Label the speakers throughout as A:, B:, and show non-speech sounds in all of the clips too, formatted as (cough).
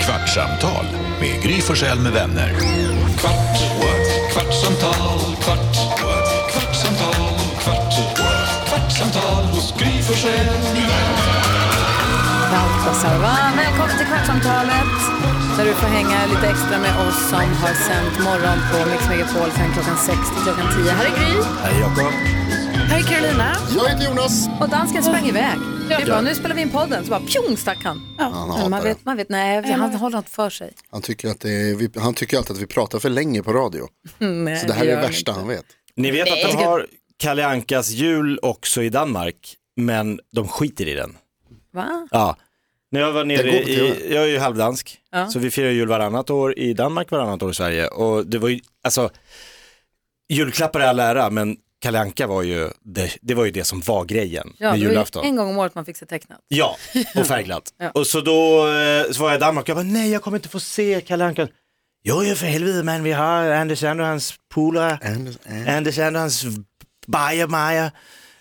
A: Kvartsamtal med Gry Forssell med vänner. Kvart, what? kvartsamtal, kvart, what? kvartsamtal, kvart, what? kvartsamtal hos Gry Forssell med vänner.
B: Baltasar. Välkommen till Kvartsamtalet där du får hänga lite extra med oss som har sänt morgon på Mix Megapol från klockan 6 till klockan 10. Här är Gry.
C: Hej Jakob.
B: Här är Carolina.
D: Jag heter Jonas.
B: Och dansken sprang iväg. Det är
D: Ja.
B: bra, nu spelar vi in podden. Så bara pjong stack han.
D: Han
B: Men man
D: hatar det.
B: vet, man vet, nej, han håller något för sig.
D: Han tycker, att det är, vi, han tycker alltid att vi pratar för länge på radio.
B: Mm, Nej,
D: Så det här är
B: gör
D: det
B: han
D: värsta han vet.
C: Ni vet
B: Nej.
C: att de har Kalle Ankas jul också i Danmark, men de skiter i den.
B: inte. Va?
C: Ja. När jag var nere
D: Den går på
C: i,
D: TV.
C: jag är ju halvdansk,
B: Ja.
C: så vi firar jul varannat år i Danmark, varannat år i Sverige. Och det var ju, alltså, julklappar är all ära, men Kalle Anka var ju det, det var ju det som var grejen
B: Ja,
C: med
B: det var
C: julafton.
B: ju en gång om året man fick se tecknat.
C: Ja, och färgglatt.
B: (laughs) Ja.
C: Och så då eh, så var jag i Danmark och jag bara, nej jag kommer inte få se Kalle Anka. Jo, jo för helvete man, vi har Anders Anders och hans polare.
D: Anders, eh.
B: Mm.
C: Anders Andersons Bajamaja.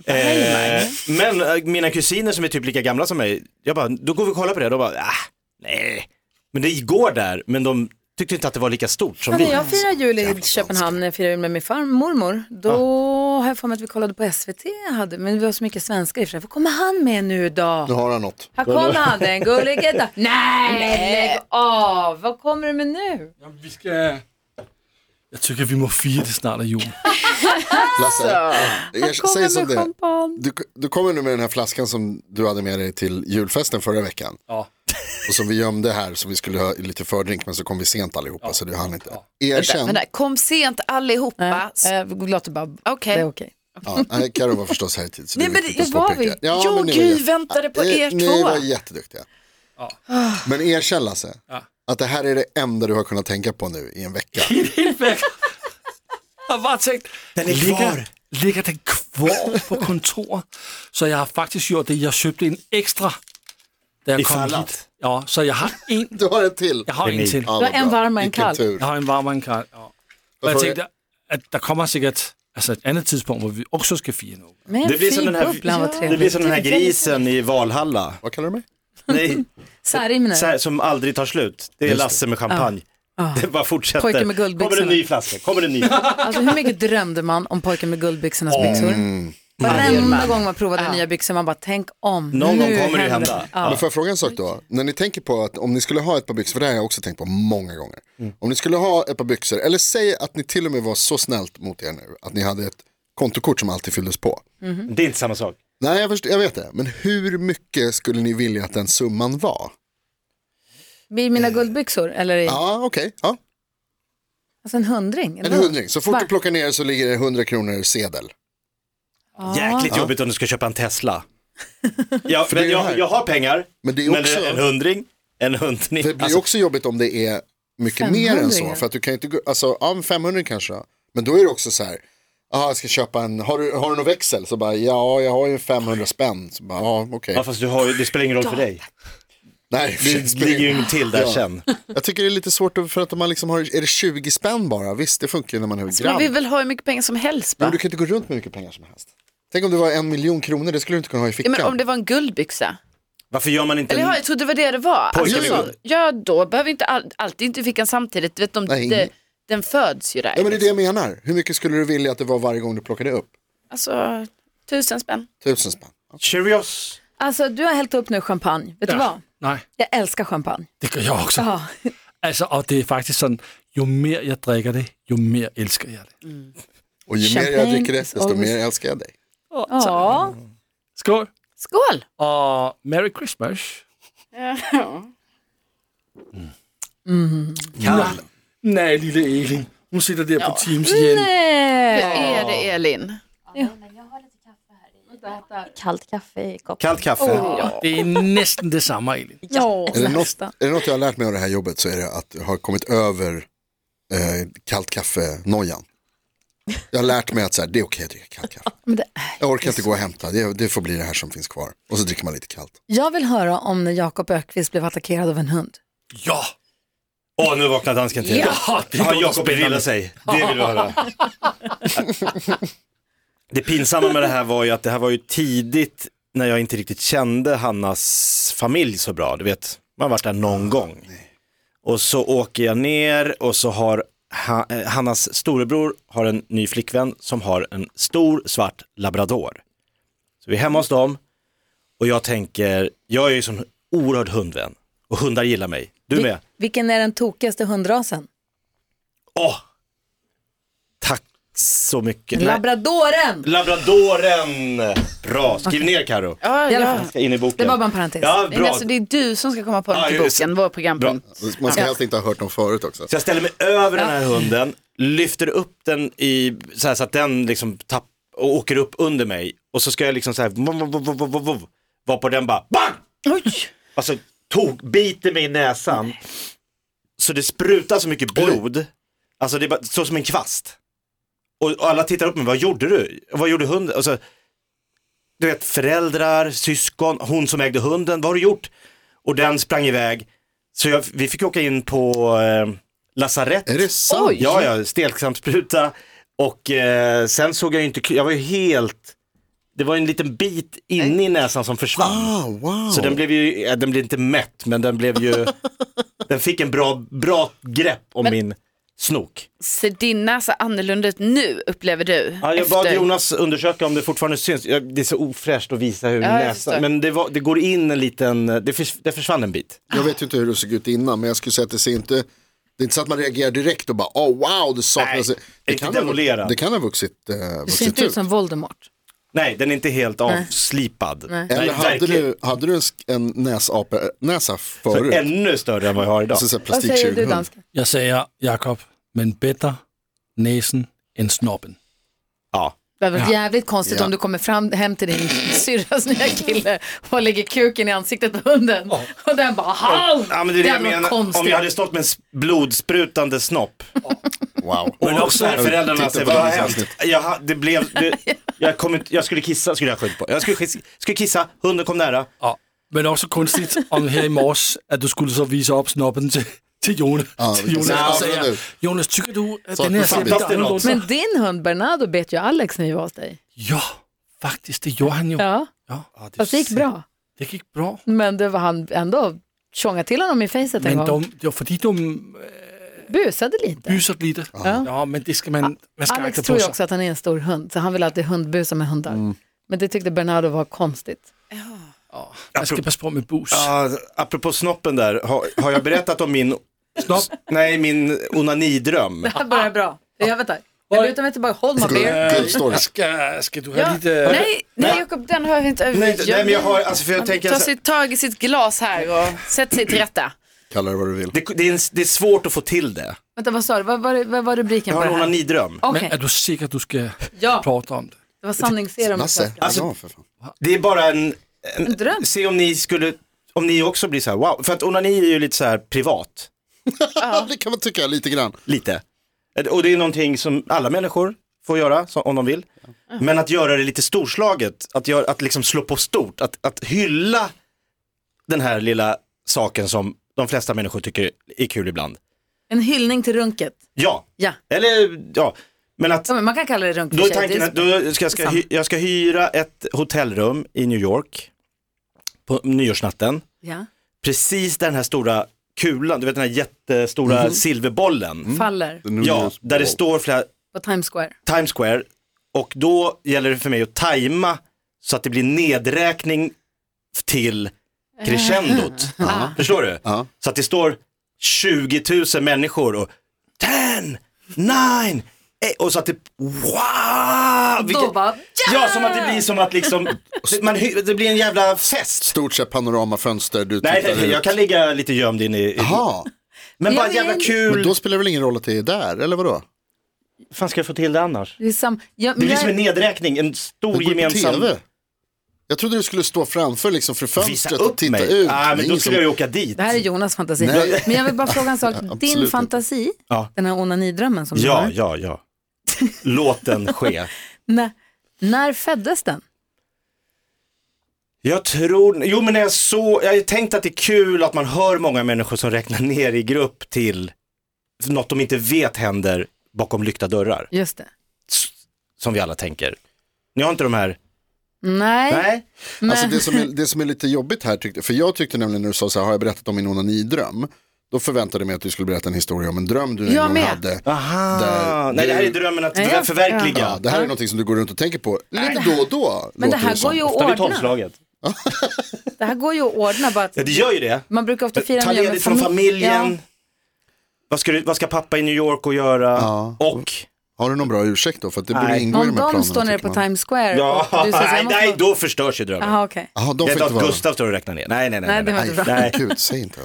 C: Eh, men eh, mina kusiner som är typ lika gamla som mig, jag bara, då går vi och kollar på det. De bara, ah, nej. Men det går där, men de tyckte inte att det var lika stort som
B: Ja,
C: vi.
B: när jag firar jul i Köpenhamn, när jag firar jul med min farm- mormor, då har jag för mig att vi kollade på SVT, hade, men vi var så mycket svenskar i och för sig. Vad kommer han med nu då?
D: Nu har han något.
B: Här kommer han, den
D: (laughs)
B: gullige då. Nej, lägg av! Vad kommer du med nu?
E: Vi ska... Jag tycker vi må fira det snart är jul.
D: Lasse, jag säger som det. är.
B: champagne.
D: Du, du kommer nu med den här flaskan som du hade med dig till julfesten förra veckan.
E: Ja.
D: Och som vi gömde här som vi skulle ha i lite fördrink men så kom vi sent allihopa så du hann inte. Erkänn.
F: Vänta, kom sent allihopa.
B: Nej, eh, låt det bara,
F: Okej.
B: det är okej.
D: Ja, nej, Karo var förstås här i tid. Så
B: Nej,
D: är
B: men
D: viktigt
B: det
D: att
B: var
D: påpeka.
B: vi.
D: Ja,
F: Jo,
D: men ni var
F: Gud,
D: jätte-
F: väntade på
D: Eh,
F: er
D: Ni
F: två.
D: var jätteduktiga. Men erkänn Lasse, att det här är det enda du har kunnat tänka på nu i en (laughs) vecka.
E: Jag (laughs) har bara tänkt,
C: Den är kvar.
E: ligger den kvar på kontoret? Så jag har faktiskt gjort det, jag köpte en extra. Där
C: I
E: jag kom
C: fallet.
E: hit. Ja, så jag har en,
D: Du har en till.
E: jag har
C: Det är
E: en
C: ni.
E: till.
D: Ja,
B: Du har
D: vad
B: en
D: bra.
B: varm och en
D: Vilken
B: kall.
D: tur.
E: Jag har en varm och en kall. Ja. Och jag
D: Varför-
E: tänkte att det kommer säkert alltså, ett annat tidspunkt där vi också ska fira något.
B: Men
C: Det blir som den här,
B: bubblan, vad
C: det blir
B: trevligt.
C: som den här grisen i Valhalla.
D: Vad kallar du mig?
B: (laughs)
C: Nej,
B: Särimner.
C: så här, som aldrig tar slut. Det är Lasse med champagne. (laughs) Det bara fortsätter.
B: Pojken med guldbyxorna.
C: Kommer det en ny flaska? Kommer det en ny?
B: Alltså hur mycket drömde man om pojken med guldbyxornas byxor?
C: Mm.
B: Varenda gång man provade nya byxor, man bara tänk om.
C: Någon
B: nu
C: gång kommer det
B: händer
C: hända.
D: Men får jag fråga en sak då? När ni tänker på att om ni skulle ha ett par byxor, för det här har jag också tänkt på många gånger. Om ni skulle ha ett par byxor, eller säg att ni till och med var så snällt mot er nu, att ni hade ett kontokort som alltid fylldes på.
B: Mm.
C: Det är inte samma sak.
D: Nej, jag, först, jag vet det, men hur mycket skulle ni vilja att den summan var?
B: Blir mina guldbyxor eller i,
D: Ja, okej. Ja.
B: alltså en hundring? eller
D: En
B: vad?
D: hundring, så fort
B: Va?
D: du plockar ner så ligger det 100 kronor sedel.
C: Jäkligt jobbigt om du ska köpa en
F: (laughs)
C: Tesla. Ja,
D: det är
C: men
D: ju
C: jag,
D: här.
C: jag har pengar,
D: Men det är
C: men
D: också-
C: en hundring, en hundring.
D: Det blir
C: Alltså,
D: också jobbigt om det är mycket mer än så.
B: 500.
D: För att du kan ju inte, gå- alltså, ja, men 500 kanske. Men då är det också så här, aha, jag ska köpa en, har du, har du någon växel? Så bara, ja, jag har ju 500 spänn. Så bara, ja, okej.
C: ja, fast du har, ju- det spelar ingen roll för dig.
D: Nej,
C: Det ligger ju en till där
D: Ja.
C: sen.
D: Jag tycker det är lite svårt att- för att om man liksom har, är det 20 spänn bara? Visst, det funkar ju när man är
F: Man
D: grabb.
F: vill väl ha hur mycket pengar som helst
D: Men
F: va?
D: du kan inte gå runt med mycket pengar som helst. Tänk om det var en miljon kronor, det skulle du inte kunna ha i
F: Ja,
D: fickan.
F: men om det var en guldbyxa.
C: Varför gör man inte
F: Eller ja,
C: en...
F: jag trodde det var det det var.
C: Pojken
F: Alltså,
C: med
F: så,
C: guld.
F: ja, då behöver inte all, alltid inte fickan samtidigt. Du Vet, de,
D: Nej,
F: de,
D: ingen-
F: den föds ju där.
D: Ja, men det är det jag menar. Hur mycket skulle du vilja att det var varje gång du plockade upp?
F: Alltså, tusen spänn.
D: Tusen spänn.
C: Cheerios.
B: Alltså du har hällt upp nu champagne, vet du vad?
E: Nej,
B: Jag älskar champagne.
E: det gör jag också.
B: Ja.
E: Alltså, och det är faktiskt sån, ju mer jag dricker det, ju mer älskar jag det.
D: Och ju mer jag
B: Champagne
D: dricker det,
B: is
D: desto
B: always-
D: mer älskar jag dig.
B: ja.
E: Skål!
F: Skål!
E: Och Merry Christmas! Mm.
C: Kan.
E: Mm. Nej, lille Elin. Hon sitter där på Teams igen.
F: Hur är det Elin?
G: kallt kaffe i koppen.
C: Kallt kaffe.
F: Oh.
E: Det är nästan detsamma Elin.
B: Ja,
D: Är det, något,
B: nästan.
D: är det något jag har lärt mig av det här jobbet så är det att jag har kommit över eh, kallt kaffe-nojan. Jag har lärt mig att så här, det är okej att dricka kallt kaffe.
B: Men det,
D: Jag orkar inte gå och hämta, det, det får bli det här som finns kvar. Och så dricker man lite kallt.
B: jag vill höra om när Jakob Ökvist blev attackerad av en hund.
E: Ja!
C: Åh, nu vaknar dansken till.
E: Ja, det
C: Har
E: låter
C: Jakob
E: spännande.
C: inrillat sig? Det vill vi
E: (laughs)
C: höra. Det pinsamma med det här var ju att det här var ju tidigt när jag
E: Ah,
C: inte riktigt kände Hannas familj så bra. Du vet, man har varit där någon gång. Och så åker jag ner och så har ha, eh, Hannas storebror har en ny flickvän som har en stor svart labrador. Så vi är hemma hos dem och jag tänker, jag är ju sån oerhörd hundvän och hundar gillar mig. Du med?
B: Vilken är den tokigaste hundrasen?
C: Åh! Tack så mycket.
B: Labradoren!
C: Labradoren! Bra, skriv ner Karo.
F: Ja,
B: I alla
F: ja.
B: fall.
C: Ska in i boken.
B: Det var bara en parentes.
C: Ja,
F: Nej, men
C: bra.
F: alltså, det är du som ska komma på
C: Ja,
F: något i
C: just det.
F: boken, vår programpunkt.
D: Man ska helst inte ha hört dem förut också.
C: Så jag ställer mig över den här hunden, lyfter upp den i, så, här, så att den liksom tapp, och åker upp under mig. Och så ska jag liksom så här, vov, vov, vov, vov, vov, vov, varpå den bara, bang!
F: Oj!
C: Alltså tog, biter mig i näsan. Så det sprutar så mycket blod. Alltså det är bara, så som en kvast. Och, och alla tittar upp på mig, vad gjorde du? Vad gjorde hunden? Och så, du vet föräldrar, syskon, hon som ägde hunden, vad har du gjort? Och den sprang iväg. Så jag, vi fick åka in på eh, lasarett.
D: Är det sant?
F: Oj.
C: Ja, ja, stelkrampsspruta. Och eh, sen såg jag ju inte, jag var ju helt, det var ju en liten bit inne i näsan som försvann.
D: Ah, wow.
C: Så den blev ju, ja, den blev inte mätt men den blev ju, den fick en bra, bra grepp om min snok.
F: Ser din näsa annorlunda ut nu, upplever du?
C: Ja, jag
F: efter-
C: bad Jonas undersöka om det fortfarande syns, Ja, det är så ofräscht att visa hur
F: Ja, jag
C: näsan,
F: förstår.
C: men det, var, det går in en liten, det, förs, det försvann en bit.
D: Jag vet ju inte hur det såg ut innan, men jag skulle säga att det ser inte, det är inte så att man reagerar direkt och bara, oh wow, det saknas.
C: Nej,
D: det,
C: inte
D: kan ha,
C: demolera.
D: det kan ha vuxit,
B: Du
D: eh,
B: ser
D: vuxit
B: inte ut
D: ut.
B: som Voldemort.
C: Nej, den är inte helt avslipad. Nej.
D: Eller hade
C: verkligen.
D: du, hade du en, sk- en näsapenäsa
C: Så
D: förut?
C: ännu större än vad jag har idag.
D: Alltså så här
B: Vad säger du
D: plastiktjuven.
B: danska?
E: Jeg säger, Jakob, men bättre näsen än snoppen.
C: Ja.
B: Det hade varit jävligt konstigt
D: Ja.
B: om du kommer fram, hem till din (laughs) syrras nya kille och lägger kuken i ansiktet på hunden. Och den bara halv!
C: ja, men det är det jag
B: hade varit
C: menar. Om
B: konstigt.
C: jag hade stått med en s- blodsprutande snopp
D: Wow.
C: Men också när föräldrarna
D: Titta
C: säger,
D: på
C: vad har
D: det
C: hänt? Jag, ha- det blev, det, jag, kom inte, jag skulle kissa, skulle jag skjuta på. Jag skulle, skis- skulle kissa, hunden kom nära.
E: Ja. Men också konstigt om her i morges, at du skulle så vise op snoppen til, til Jonas.
D: Ja,
E: til
D: vi kan
E: Jonas,
D: se
E: og
D: det
E: sagde,
D: nu.
E: Jonas, tycker du, at
D: Så
E: den her
D: fantastisk
E: ser lidt
C: det er
E: anderledes?
C: noget.
E: ud?"
B: Men din hund Bernardo bet ju Alex när vi var hos dig.
E: Ja, faktisk, det gjorde han jo.
B: Ja,
E: Ja.
B: fast det gick bra.
E: Det gik bra.
B: Men det var han ändå tjongade till honom i facet en
E: Men
B: gång.
E: de, det var fordi, de
B: Busade lite.
E: byser lidt.
B: Ja.
E: Ja, men det skal man, man skal
B: Alex
E: akta
B: tror
E: på
B: ju
E: sig.
B: också att han är en stor hund, så han vill alltid hundbusa med hundar.
C: Mm.
B: Men det tyckte Bernardo var konstigt.
E: Man skal passe på med bus.
C: Ja, apropå snoppen där, har, har jag berättat om min,
E: Snop.
C: nej min onanidröm?
B: Det här börjar bra. Jag väntar. Jag lutar mig tillbaka. Hold my beer.
D: Good story.
E: Skal, skal du have
F: Ja.
E: lidt... øh,
F: Nej, nej Jakob, den har vi inte
C: Nej, nej, men jag har, alltså för jag
F: Han
C: tänker,
F: tar
C: alltså,
F: sitt tag i sitt glas här och sätter sig till rätta.
D: Kalla det vad du vill.
C: det, det, är en, det är svårt att få till det.
B: Vänta, vad sa du? Vad var, vad var rubriken
C: Jag
B: på
C: har
B: det
C: en
B: här?
C: onanidröm.
B: Okej,
E: Men er du sikker, du skal
B: ja.
E: prate om det?
B: Det var sanningsserum.
D: Lasse,
C: Alltså-
D: ja, för fan.
C: Det är bara en,
B: En dröm.
C: se om ni skulle, om ni också blir så här, wow, för att onani är ju lite så här privat,
D: det kan man tycka lite grann.
C: lite. Och det är någonting som alla människor får göra så, om de vill. Men att göra det lite storslaget, att, göra, att liksom slå på stort, att, att hylla den här lilla saken som de flesta människor tycker är kul ibland.
B: En hyllning till runket.
C: Ja,
B: Ja,
C: eller ja, men att
B: ja men man kan kalla det runk.
C: då
B: för
C: är
B: sig.
C: tanken
B: Det är-
C: att då ska jag, ska, hy, jag ska hyra ett hotellrum i New York på nyårsnatten.
B: Ja.
C: Precis där den här stora kulan, du vet den här jättestora
B: Mhm.
C: silverbollen.
B: Mm. Faller
C: Ja, där det står flera
B: på Times Square.
C: Times Square och då gäller det för mig att tajma så att det blir nedräkning till
B: (laughs)
C: crescendot. Förstår du?
D: Ja.
C: Så att det står 20 000 människor och 10, 9, eh, och så att det, wow!
B: Då bara,
C: Ja, som att det blir som
B: (laughs)
C: att liksom, man, hy- det blir en jävla fest.
D: Stort sett panoramafönster, du
C: Nej,
D: tittar
C: nej,
D: ut.
C: jag kan ligga lite gömd in i, i
D: Jaha,
C: men bara
B: Jag
C: jävla
B: vill-
D: men
C: kul.
D: då spelar det väl ingen roll att det är där, eller vadå?
C: Hur fan ska jag få till det annars?
B: det är sam... ja,
C: Det
B: men
C: blir som en
B: jag...
C: nedräkning, en stor
D: Det går på
C: gemensam...
D: tv. Jag trodde du skulle stå framför liksom för
C: Visa
D: fönstret och
C: upp
D: titta
C: mig. Nej,
D: ut. Det är
C: men då
D: ingen
C: skulle jag ju åka dit.
B: Det här är Jonas fantasi.
D: Nej.
B: Men jag vill bara fråga en
C: (laughs)
B: sak. Din
D: inte.
B: fantasi,
C: Ja.
B: den här onanidrömmen som du
C: Ja,
B: har.
C: ja, ja. Låt
B: (laughs)
C: den ske.
B: När, när föddes den?
C: Jag tror, jo men när jag såg, jag har ju tänkt att det är kul att man hör många människor som räknar ner i grupp till något de inte vet händer bakom lyckta dörrar,
B: Just det.
C: som vi alla tänker. Ni har inte de här,
B: Nej.
C: nej?
B: Men...
D: Alltså det som, är, det som är lite jobbigt här, tyckte, för jag tyckte nämligen när du sa så här, har jag berättat om min onanidröm? Då förväntade jag mig att du skulle berätta en historia om en dröm du en
B: Jag
D: gång
B: med.
D: hade.
C: Aha,
D: Där
C: nej det här
D: du-
C: är drömmen att
B: Nej, jag-
C: förverkliga.
D: Ja, det här är någonting som du går runt och tänker på lite då och då.
B: Men det
D: låter
B: här
D: som.
B: går ju att
C: Ofta vid
B: ordna.
C: tolvslaget.
B: Det här går ju att ordna bara att
C: Ja det gör ju det.
B: man brukar ofta fira
C: Ta
B: nyår med
C: ledigt från
B: famil-
C: familjen.
B: Ja.
C: Vad, ska du, vad ska pappa i New York och göra?
D: Ja.
C: Och?
D: Har du någon bra ursäkt då? För att det borde
C: Nej.
D: ingå i de
B: Om
D: här planerna.
B: de står nere
D: tycker
B: på
D: man.
B: Times Square
C: Ja,
B: och du säger så här,
C: (laughs) nej,
B: jag måste
C: nej
B: gå-
C: då förstörs ju drömmen.
B: Jaha, okej. (laughs)
D: Jaha, de
C: Det
D: får
C: är inte
D: inte
C: att
D: vara.
C: Gustav står och räknar ner. Nej, nej, nej.
B: Nej, det var
C: nej. Mm.
B: inte bra.
C: nej.
D: Gud, säg inte.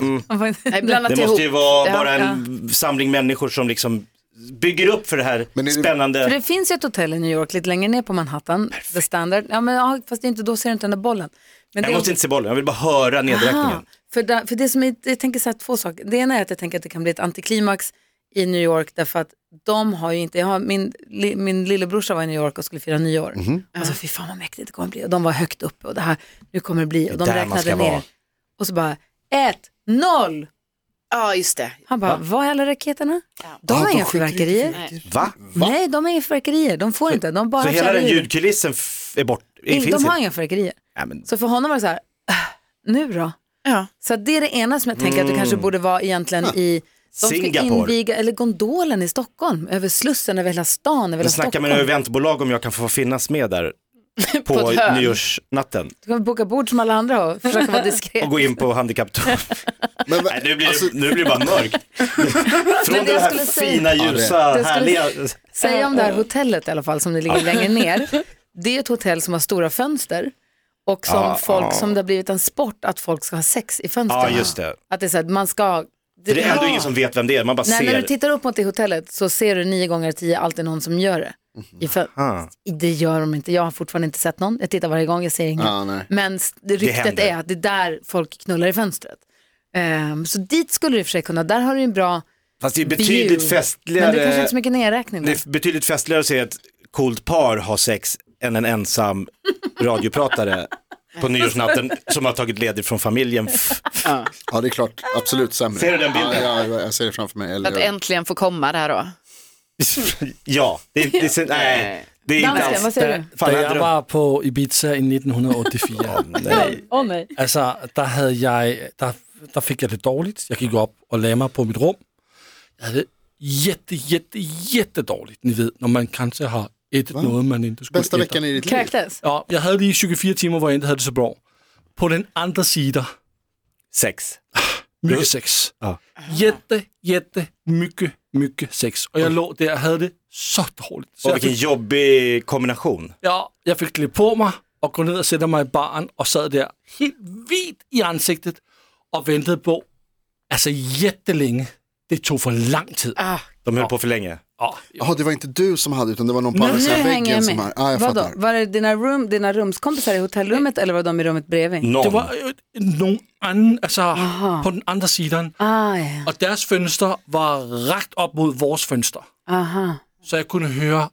F: Nej, blanda
C: Det
F: till ihop.
C: måste ju vara
F: Ja,
C: bara en samling människor som liksom bygger upp för det här
D: Men är det-
B: För
C: spännande.
B: det finns ju ett hotell i New York lite längre ner på Manhattan, The Standard. Ja, men, ja, fast det är inte, då ser du inte den där bollen. Men
C: Jag måste inte se bollen, jag vill bara höra
B: Aha,
C: nedräkningen.
B: för, där, för det som är, jag tänker så här två saker. Det ena är att jag tänker att det kan bli ett antiklimax i New York därför att de har ju inte, jag har, min, li, min lillebrorsa var i New York och skulle fira nyår.
C: Mhm.
B: Alltså fy fan vad mäktigt det kommer bli och de var högt uppe och det här, nu kommer det bli och de
C: där man
B: räknade
C: ska
B: ner.
C: vara.
B: Och så bara, ett, noll!
F: Ja, just det.
B: Han bara, var är alla raketerna? De har inga fyrverkerier.
C: Va?
B: Nej, de har inga fyrverkerier, de får inte, de bara
C: Så hela
B: kör
C: den
B: i.
C: ljudkulissen f- är bort?
B: In-
C: finns
B: De
C: inte?
B: har inga fyrverkerier.
C: Nej, men,
B: Så för honom var det så här, "Ah, nu då?
F: Ja.
B: Så att det är det ena som jag tänker att det kanske borde vara egentligen i de ska
C: Mm. Singapore.
B: inviga, eller gondolen i Stockholm, över Slussen, över hela stan, över
C: jag
B: hela
C: snackar
B: Stockholm.
C: med några eventbolag om jag kan få finnas
B: (laughs)
C: med där på,
F: På ett hörn.
C: nyårsnatten
B: Du kan boka bord som alla andra och försöka vara diskret.
C: (laughs) och gå
B: (laughs)
C: in på handikapptour.
D: Men, va-
C: (laughs) Nej, nu blir,
D: alltså,
C: det, nu blir det
B: (laughs)
C: bara mörkt. Från
B: det
C: det
B: jag
C: här
B: skulle säga-
C: fina, ljusa,
B: Det skulle-
C: härliga...
B: Säga om det här hotellet i alla fall som det ligger längre ner. Det är ett hotell som har stora fönster och som
C: Ah,
B: folk, som det har blivit en sport att folk ska ha sex i fönstren.
C: Ja, Ah, just det.
B: Att det är så att man ska...
C: För det är ändå
B: Ja.
C: ingen som vet vem det är, man bara
B: Nej, när
C: ser.
B: du tittar upp mot det hotellet så ser du nio gånger av tio alltid någon som gör det. I fö-
E: Ah.
C: Aha.
B: det gör de inte, jag har fortfarande inte sett någon. Jag tittar varje gång, jag ser ingen.
D: Ja, nej.
B: Men s- det ryktet
C: händer.
B: är att det är där folk knullar i fönstret. Ehm, så dit skulle du i och för sig kunna, där har du ju en bra
C: Fast det är betydligt
B: view.
C: festligare.
B: Men det kanske inte är så mycket nedräkning
C: Det
B: där.
C: är betydligt festligare att se ett coolt par ha sex än en ensam radiopratare
B: (laughs)
C: på nyårsnatten som har tagit ledigt från familjen. (laughs) F-
D: ja, det är klart. Absolut sämre.
C: Ser du den bilden?
D: Ja, ja, jag ser det framför mig. Eller,
F: Att äntligen få komma där då.
C: Ja, det, är- det, är- nej, det är inte
B: Dansken, vad
C: alls.
B: säger du?
C: Fan,
E: Da
C: hade
E: jeg
C: du-
E: var på Ibiza i 1984,
C: nej.
B: Åh nej.
E: altså, der, havde jeg, der, der fik jeg det dårligt. Jeg gik op og lagde mig på mit rum. Jeg havde det jette, jette, jette dårligt, ni ved, når man kanskje har et noget, man ikke skulle
D: Bästa
E: ætte.
D: veckan i ditt liv.
B: Kräktes?
E: Ja, jeg havde lige 24 timer, hvor jeg ikke havde det så bra. På den andre side,
C: Sex.
E: mygge sex.
C: Ja.
E: Jette, jette, mygge, mygge sex. Og jeg lå der og havde det så dårligt. Så
C: Och
E: jeg fik
C: vilken jobbig kombination.
E: Ja, jeg fik klædt på mig og gå ned og sætter mig i baren og sad der helt hvidt i ansigtet og ventede på, altså jättelænge. Det tog for lang tid. Ah.
C: De höll på för länge.
E: Og,
D: Jaha, det var inte du som hade, utan det var någon på
E: Nej,
D: andra
B: Nu
D: sidan
B: hänger
D: väggen
B: jag
D: som
B: med.
D: hade. Ja, jag
B: Vadå?
D: fattar.
B: Var det dina, room, dina rumskompisar i hotellrummet eller var de i rummet
D: Mm.
B: bredvid?
C: Någon.
E: det var jo nogle anden, altså alltså, på den andre side,
B: Ah, ja.
E: og deres fønster var rakt op mod vores fønster.
B: Aha.
E: Så jeg kunne høre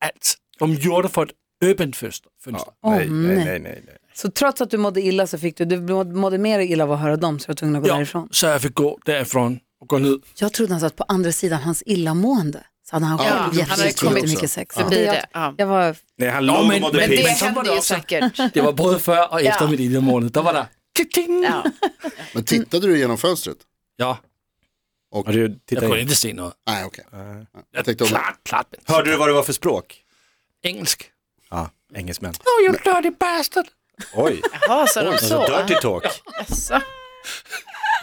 E: alt. De gjorde det for et urban fønster. fønster.
B: Åh,
C: nej, nej,
B: nej.
C: nej, nej, nej.
B: Så trots att du mådde illa så fick du, du mådde- mådde mer illa av att höra dem så du var tvungen att gå därifrån.
E: så jeg fik gå derifra og gå ned.
B: Jag trodde han satt på andra sidan hans illamående. Så hade han
D: Ja,
B: själv
F: han hade
B: jättemycket
F: kommit
B: mycket sex.
F: förbi
B: Jag-
F: det, ja.
B: Jag var,
C: Nej, han låg och
E: men-
C: mådde
E: men
F: Men
E: det
F: det
E: Men
C: pigg.
E: så var det
F: hände ju
E: också.
F: säkert.
E: Det var både før og efter
F: Ja.
E: mit ene måned. Der var der... Kling,
F: Ja.
D: Men tittade du genom fönstret?
E: Ja,
C: Har du
E: jeg
C: tittat
E: kunne
C: in?
E: ikke se noget.
D: Nej, okej.
E: Jeg
D: tänkte om-
E: klart, klart. men-
C: Hörde du vad det var för språk?
E: Engelsk.
C: Ja, engelsmän.
E: Oh, you dirty bastard.
C: Oj,
E: (laughs)
F: Jaha, så Alltså. de
C: oj, så
F: så?
C: Alltså, dirty talk.
F: Jaså.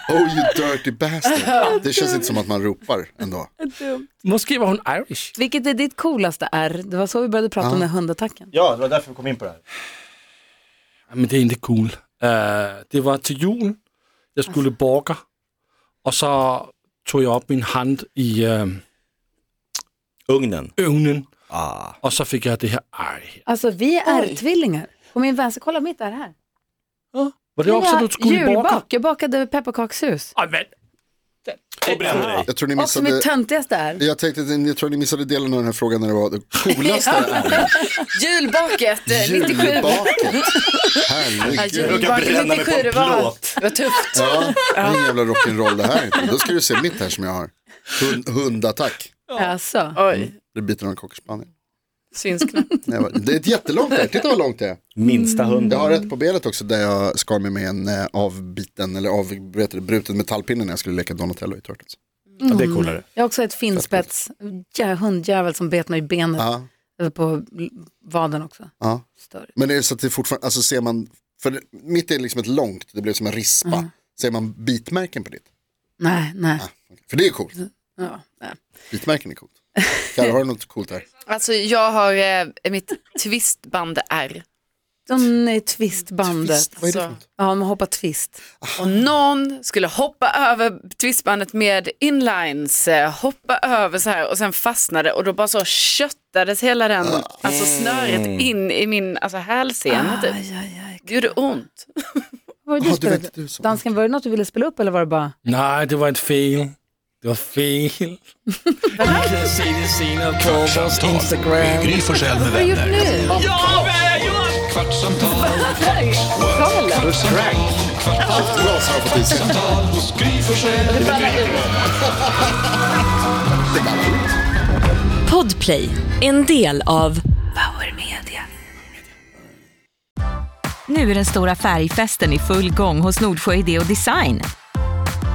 D: Oh you dirty bastard. Det känns inte som att man ropar ändå.
E: Måske var hun Irish.
B: vilket är ditt coolaste R? Det var så vi började prata om den här hundattacken.
C: Ja, det var därför vi kom in på det här.
E: Men det er egentlig cool. Uh, det var til jul. Jeg skulle borger. Og så tog jeg op min hand i øh,
C: Ugnen.
E: øvnen.
C: Ah.
E: Og så fik jeg det her ej. her.
B: Alltså vi är R-tvillingar. På min vänster, kolla mitt R här.
E: Var det også, du skulle i borger?
B: julbak, jag bakade pepparkakshus.
E: Ej, hvad?
C: Och brände dig.
D: Jag tror ni
E: Alltså,
B: Och som mitt
D: missade,
B: töntigaste R.
D: jag tänkte, att ni- jag tror ni missade delen av den här frågan när det var det
E: (laughs)
D: coolaste är
F: Julbaket eh, 97.
D: julbaket.
F: Jag
D: Herregud.
F: råkar
C: Jag bränna mig på en
F: Lite kurva.
C: plåt.
F: Det var tufft.
D: Ja, det är ingen jävla rock'n'roll det här inte. Då ska du se mitt här som jag har. Hund, hundattack.
B: Alltså.
F: Oj.
D: Det biter någon cockerspaniel.
F: Syns knappt.
D: Nej, men Det är ett jättelångt där, titta vad långt det är.
C: Minsta
D: Jag
C: hunden.
D: har rätt på benet också där jag skar mig med en eh, avbiten eller avbruten metallpinne när jag skulle leka Donatello i Turtles.
C: Ja, det är coolare.
B: Jag har också ett finspets jä- hundjävel som bet mig i benet
D: Ja,
B: eller på l- vaden också.
D: ja.
B: Störigt.
D: Men det är så att det fortfarande, alltså ser man, för det- mitt är liksom ett långt, det blev som en rispa. Ser man bitmärken på ditt?
B: Nej, nej.
D: För det är coolt,
B: Ja, nej.
D: bitmärken är coolt. Kalle, har du något coolt här?
F: Alltså jag har eh, mitt twistband är.
B: De är twistbandet.
D: Twist, vad är det för
F: alltså.
D: något?
B: Ja, man hoppar twist.
F: Och någon skulle hoppa över twistbandet med inlines, eh, hoppa över så här och sen fastnade och då bara så köttades hela den, alltså snöret in i min alltså, hälsena typ.
B: Aj, aj, aj.
F: Det gjorde ont.
B: Vad var det du
D: Ja, du vet
B: spelade?
D: inte du som-
B: Dansken, var det något du ville spela upp eller var det bara?
E: Nej, det var ett fel. Det var fel. Ni kan se det senare på vår
A: med
E: Instagram.
A: Gry Forssell med vänner. Kvartsamtal, kvart, kvartsamtal, kvartsamtal,
D: Allt bra som jag har fått i sig.
A: kvartsamtal hos Gry Forssell med vänner.
H: Podplay, en del av
B: Power Media.
H: Nu är den stora färgfesten i full gång hos Nordsjö Idé och Design.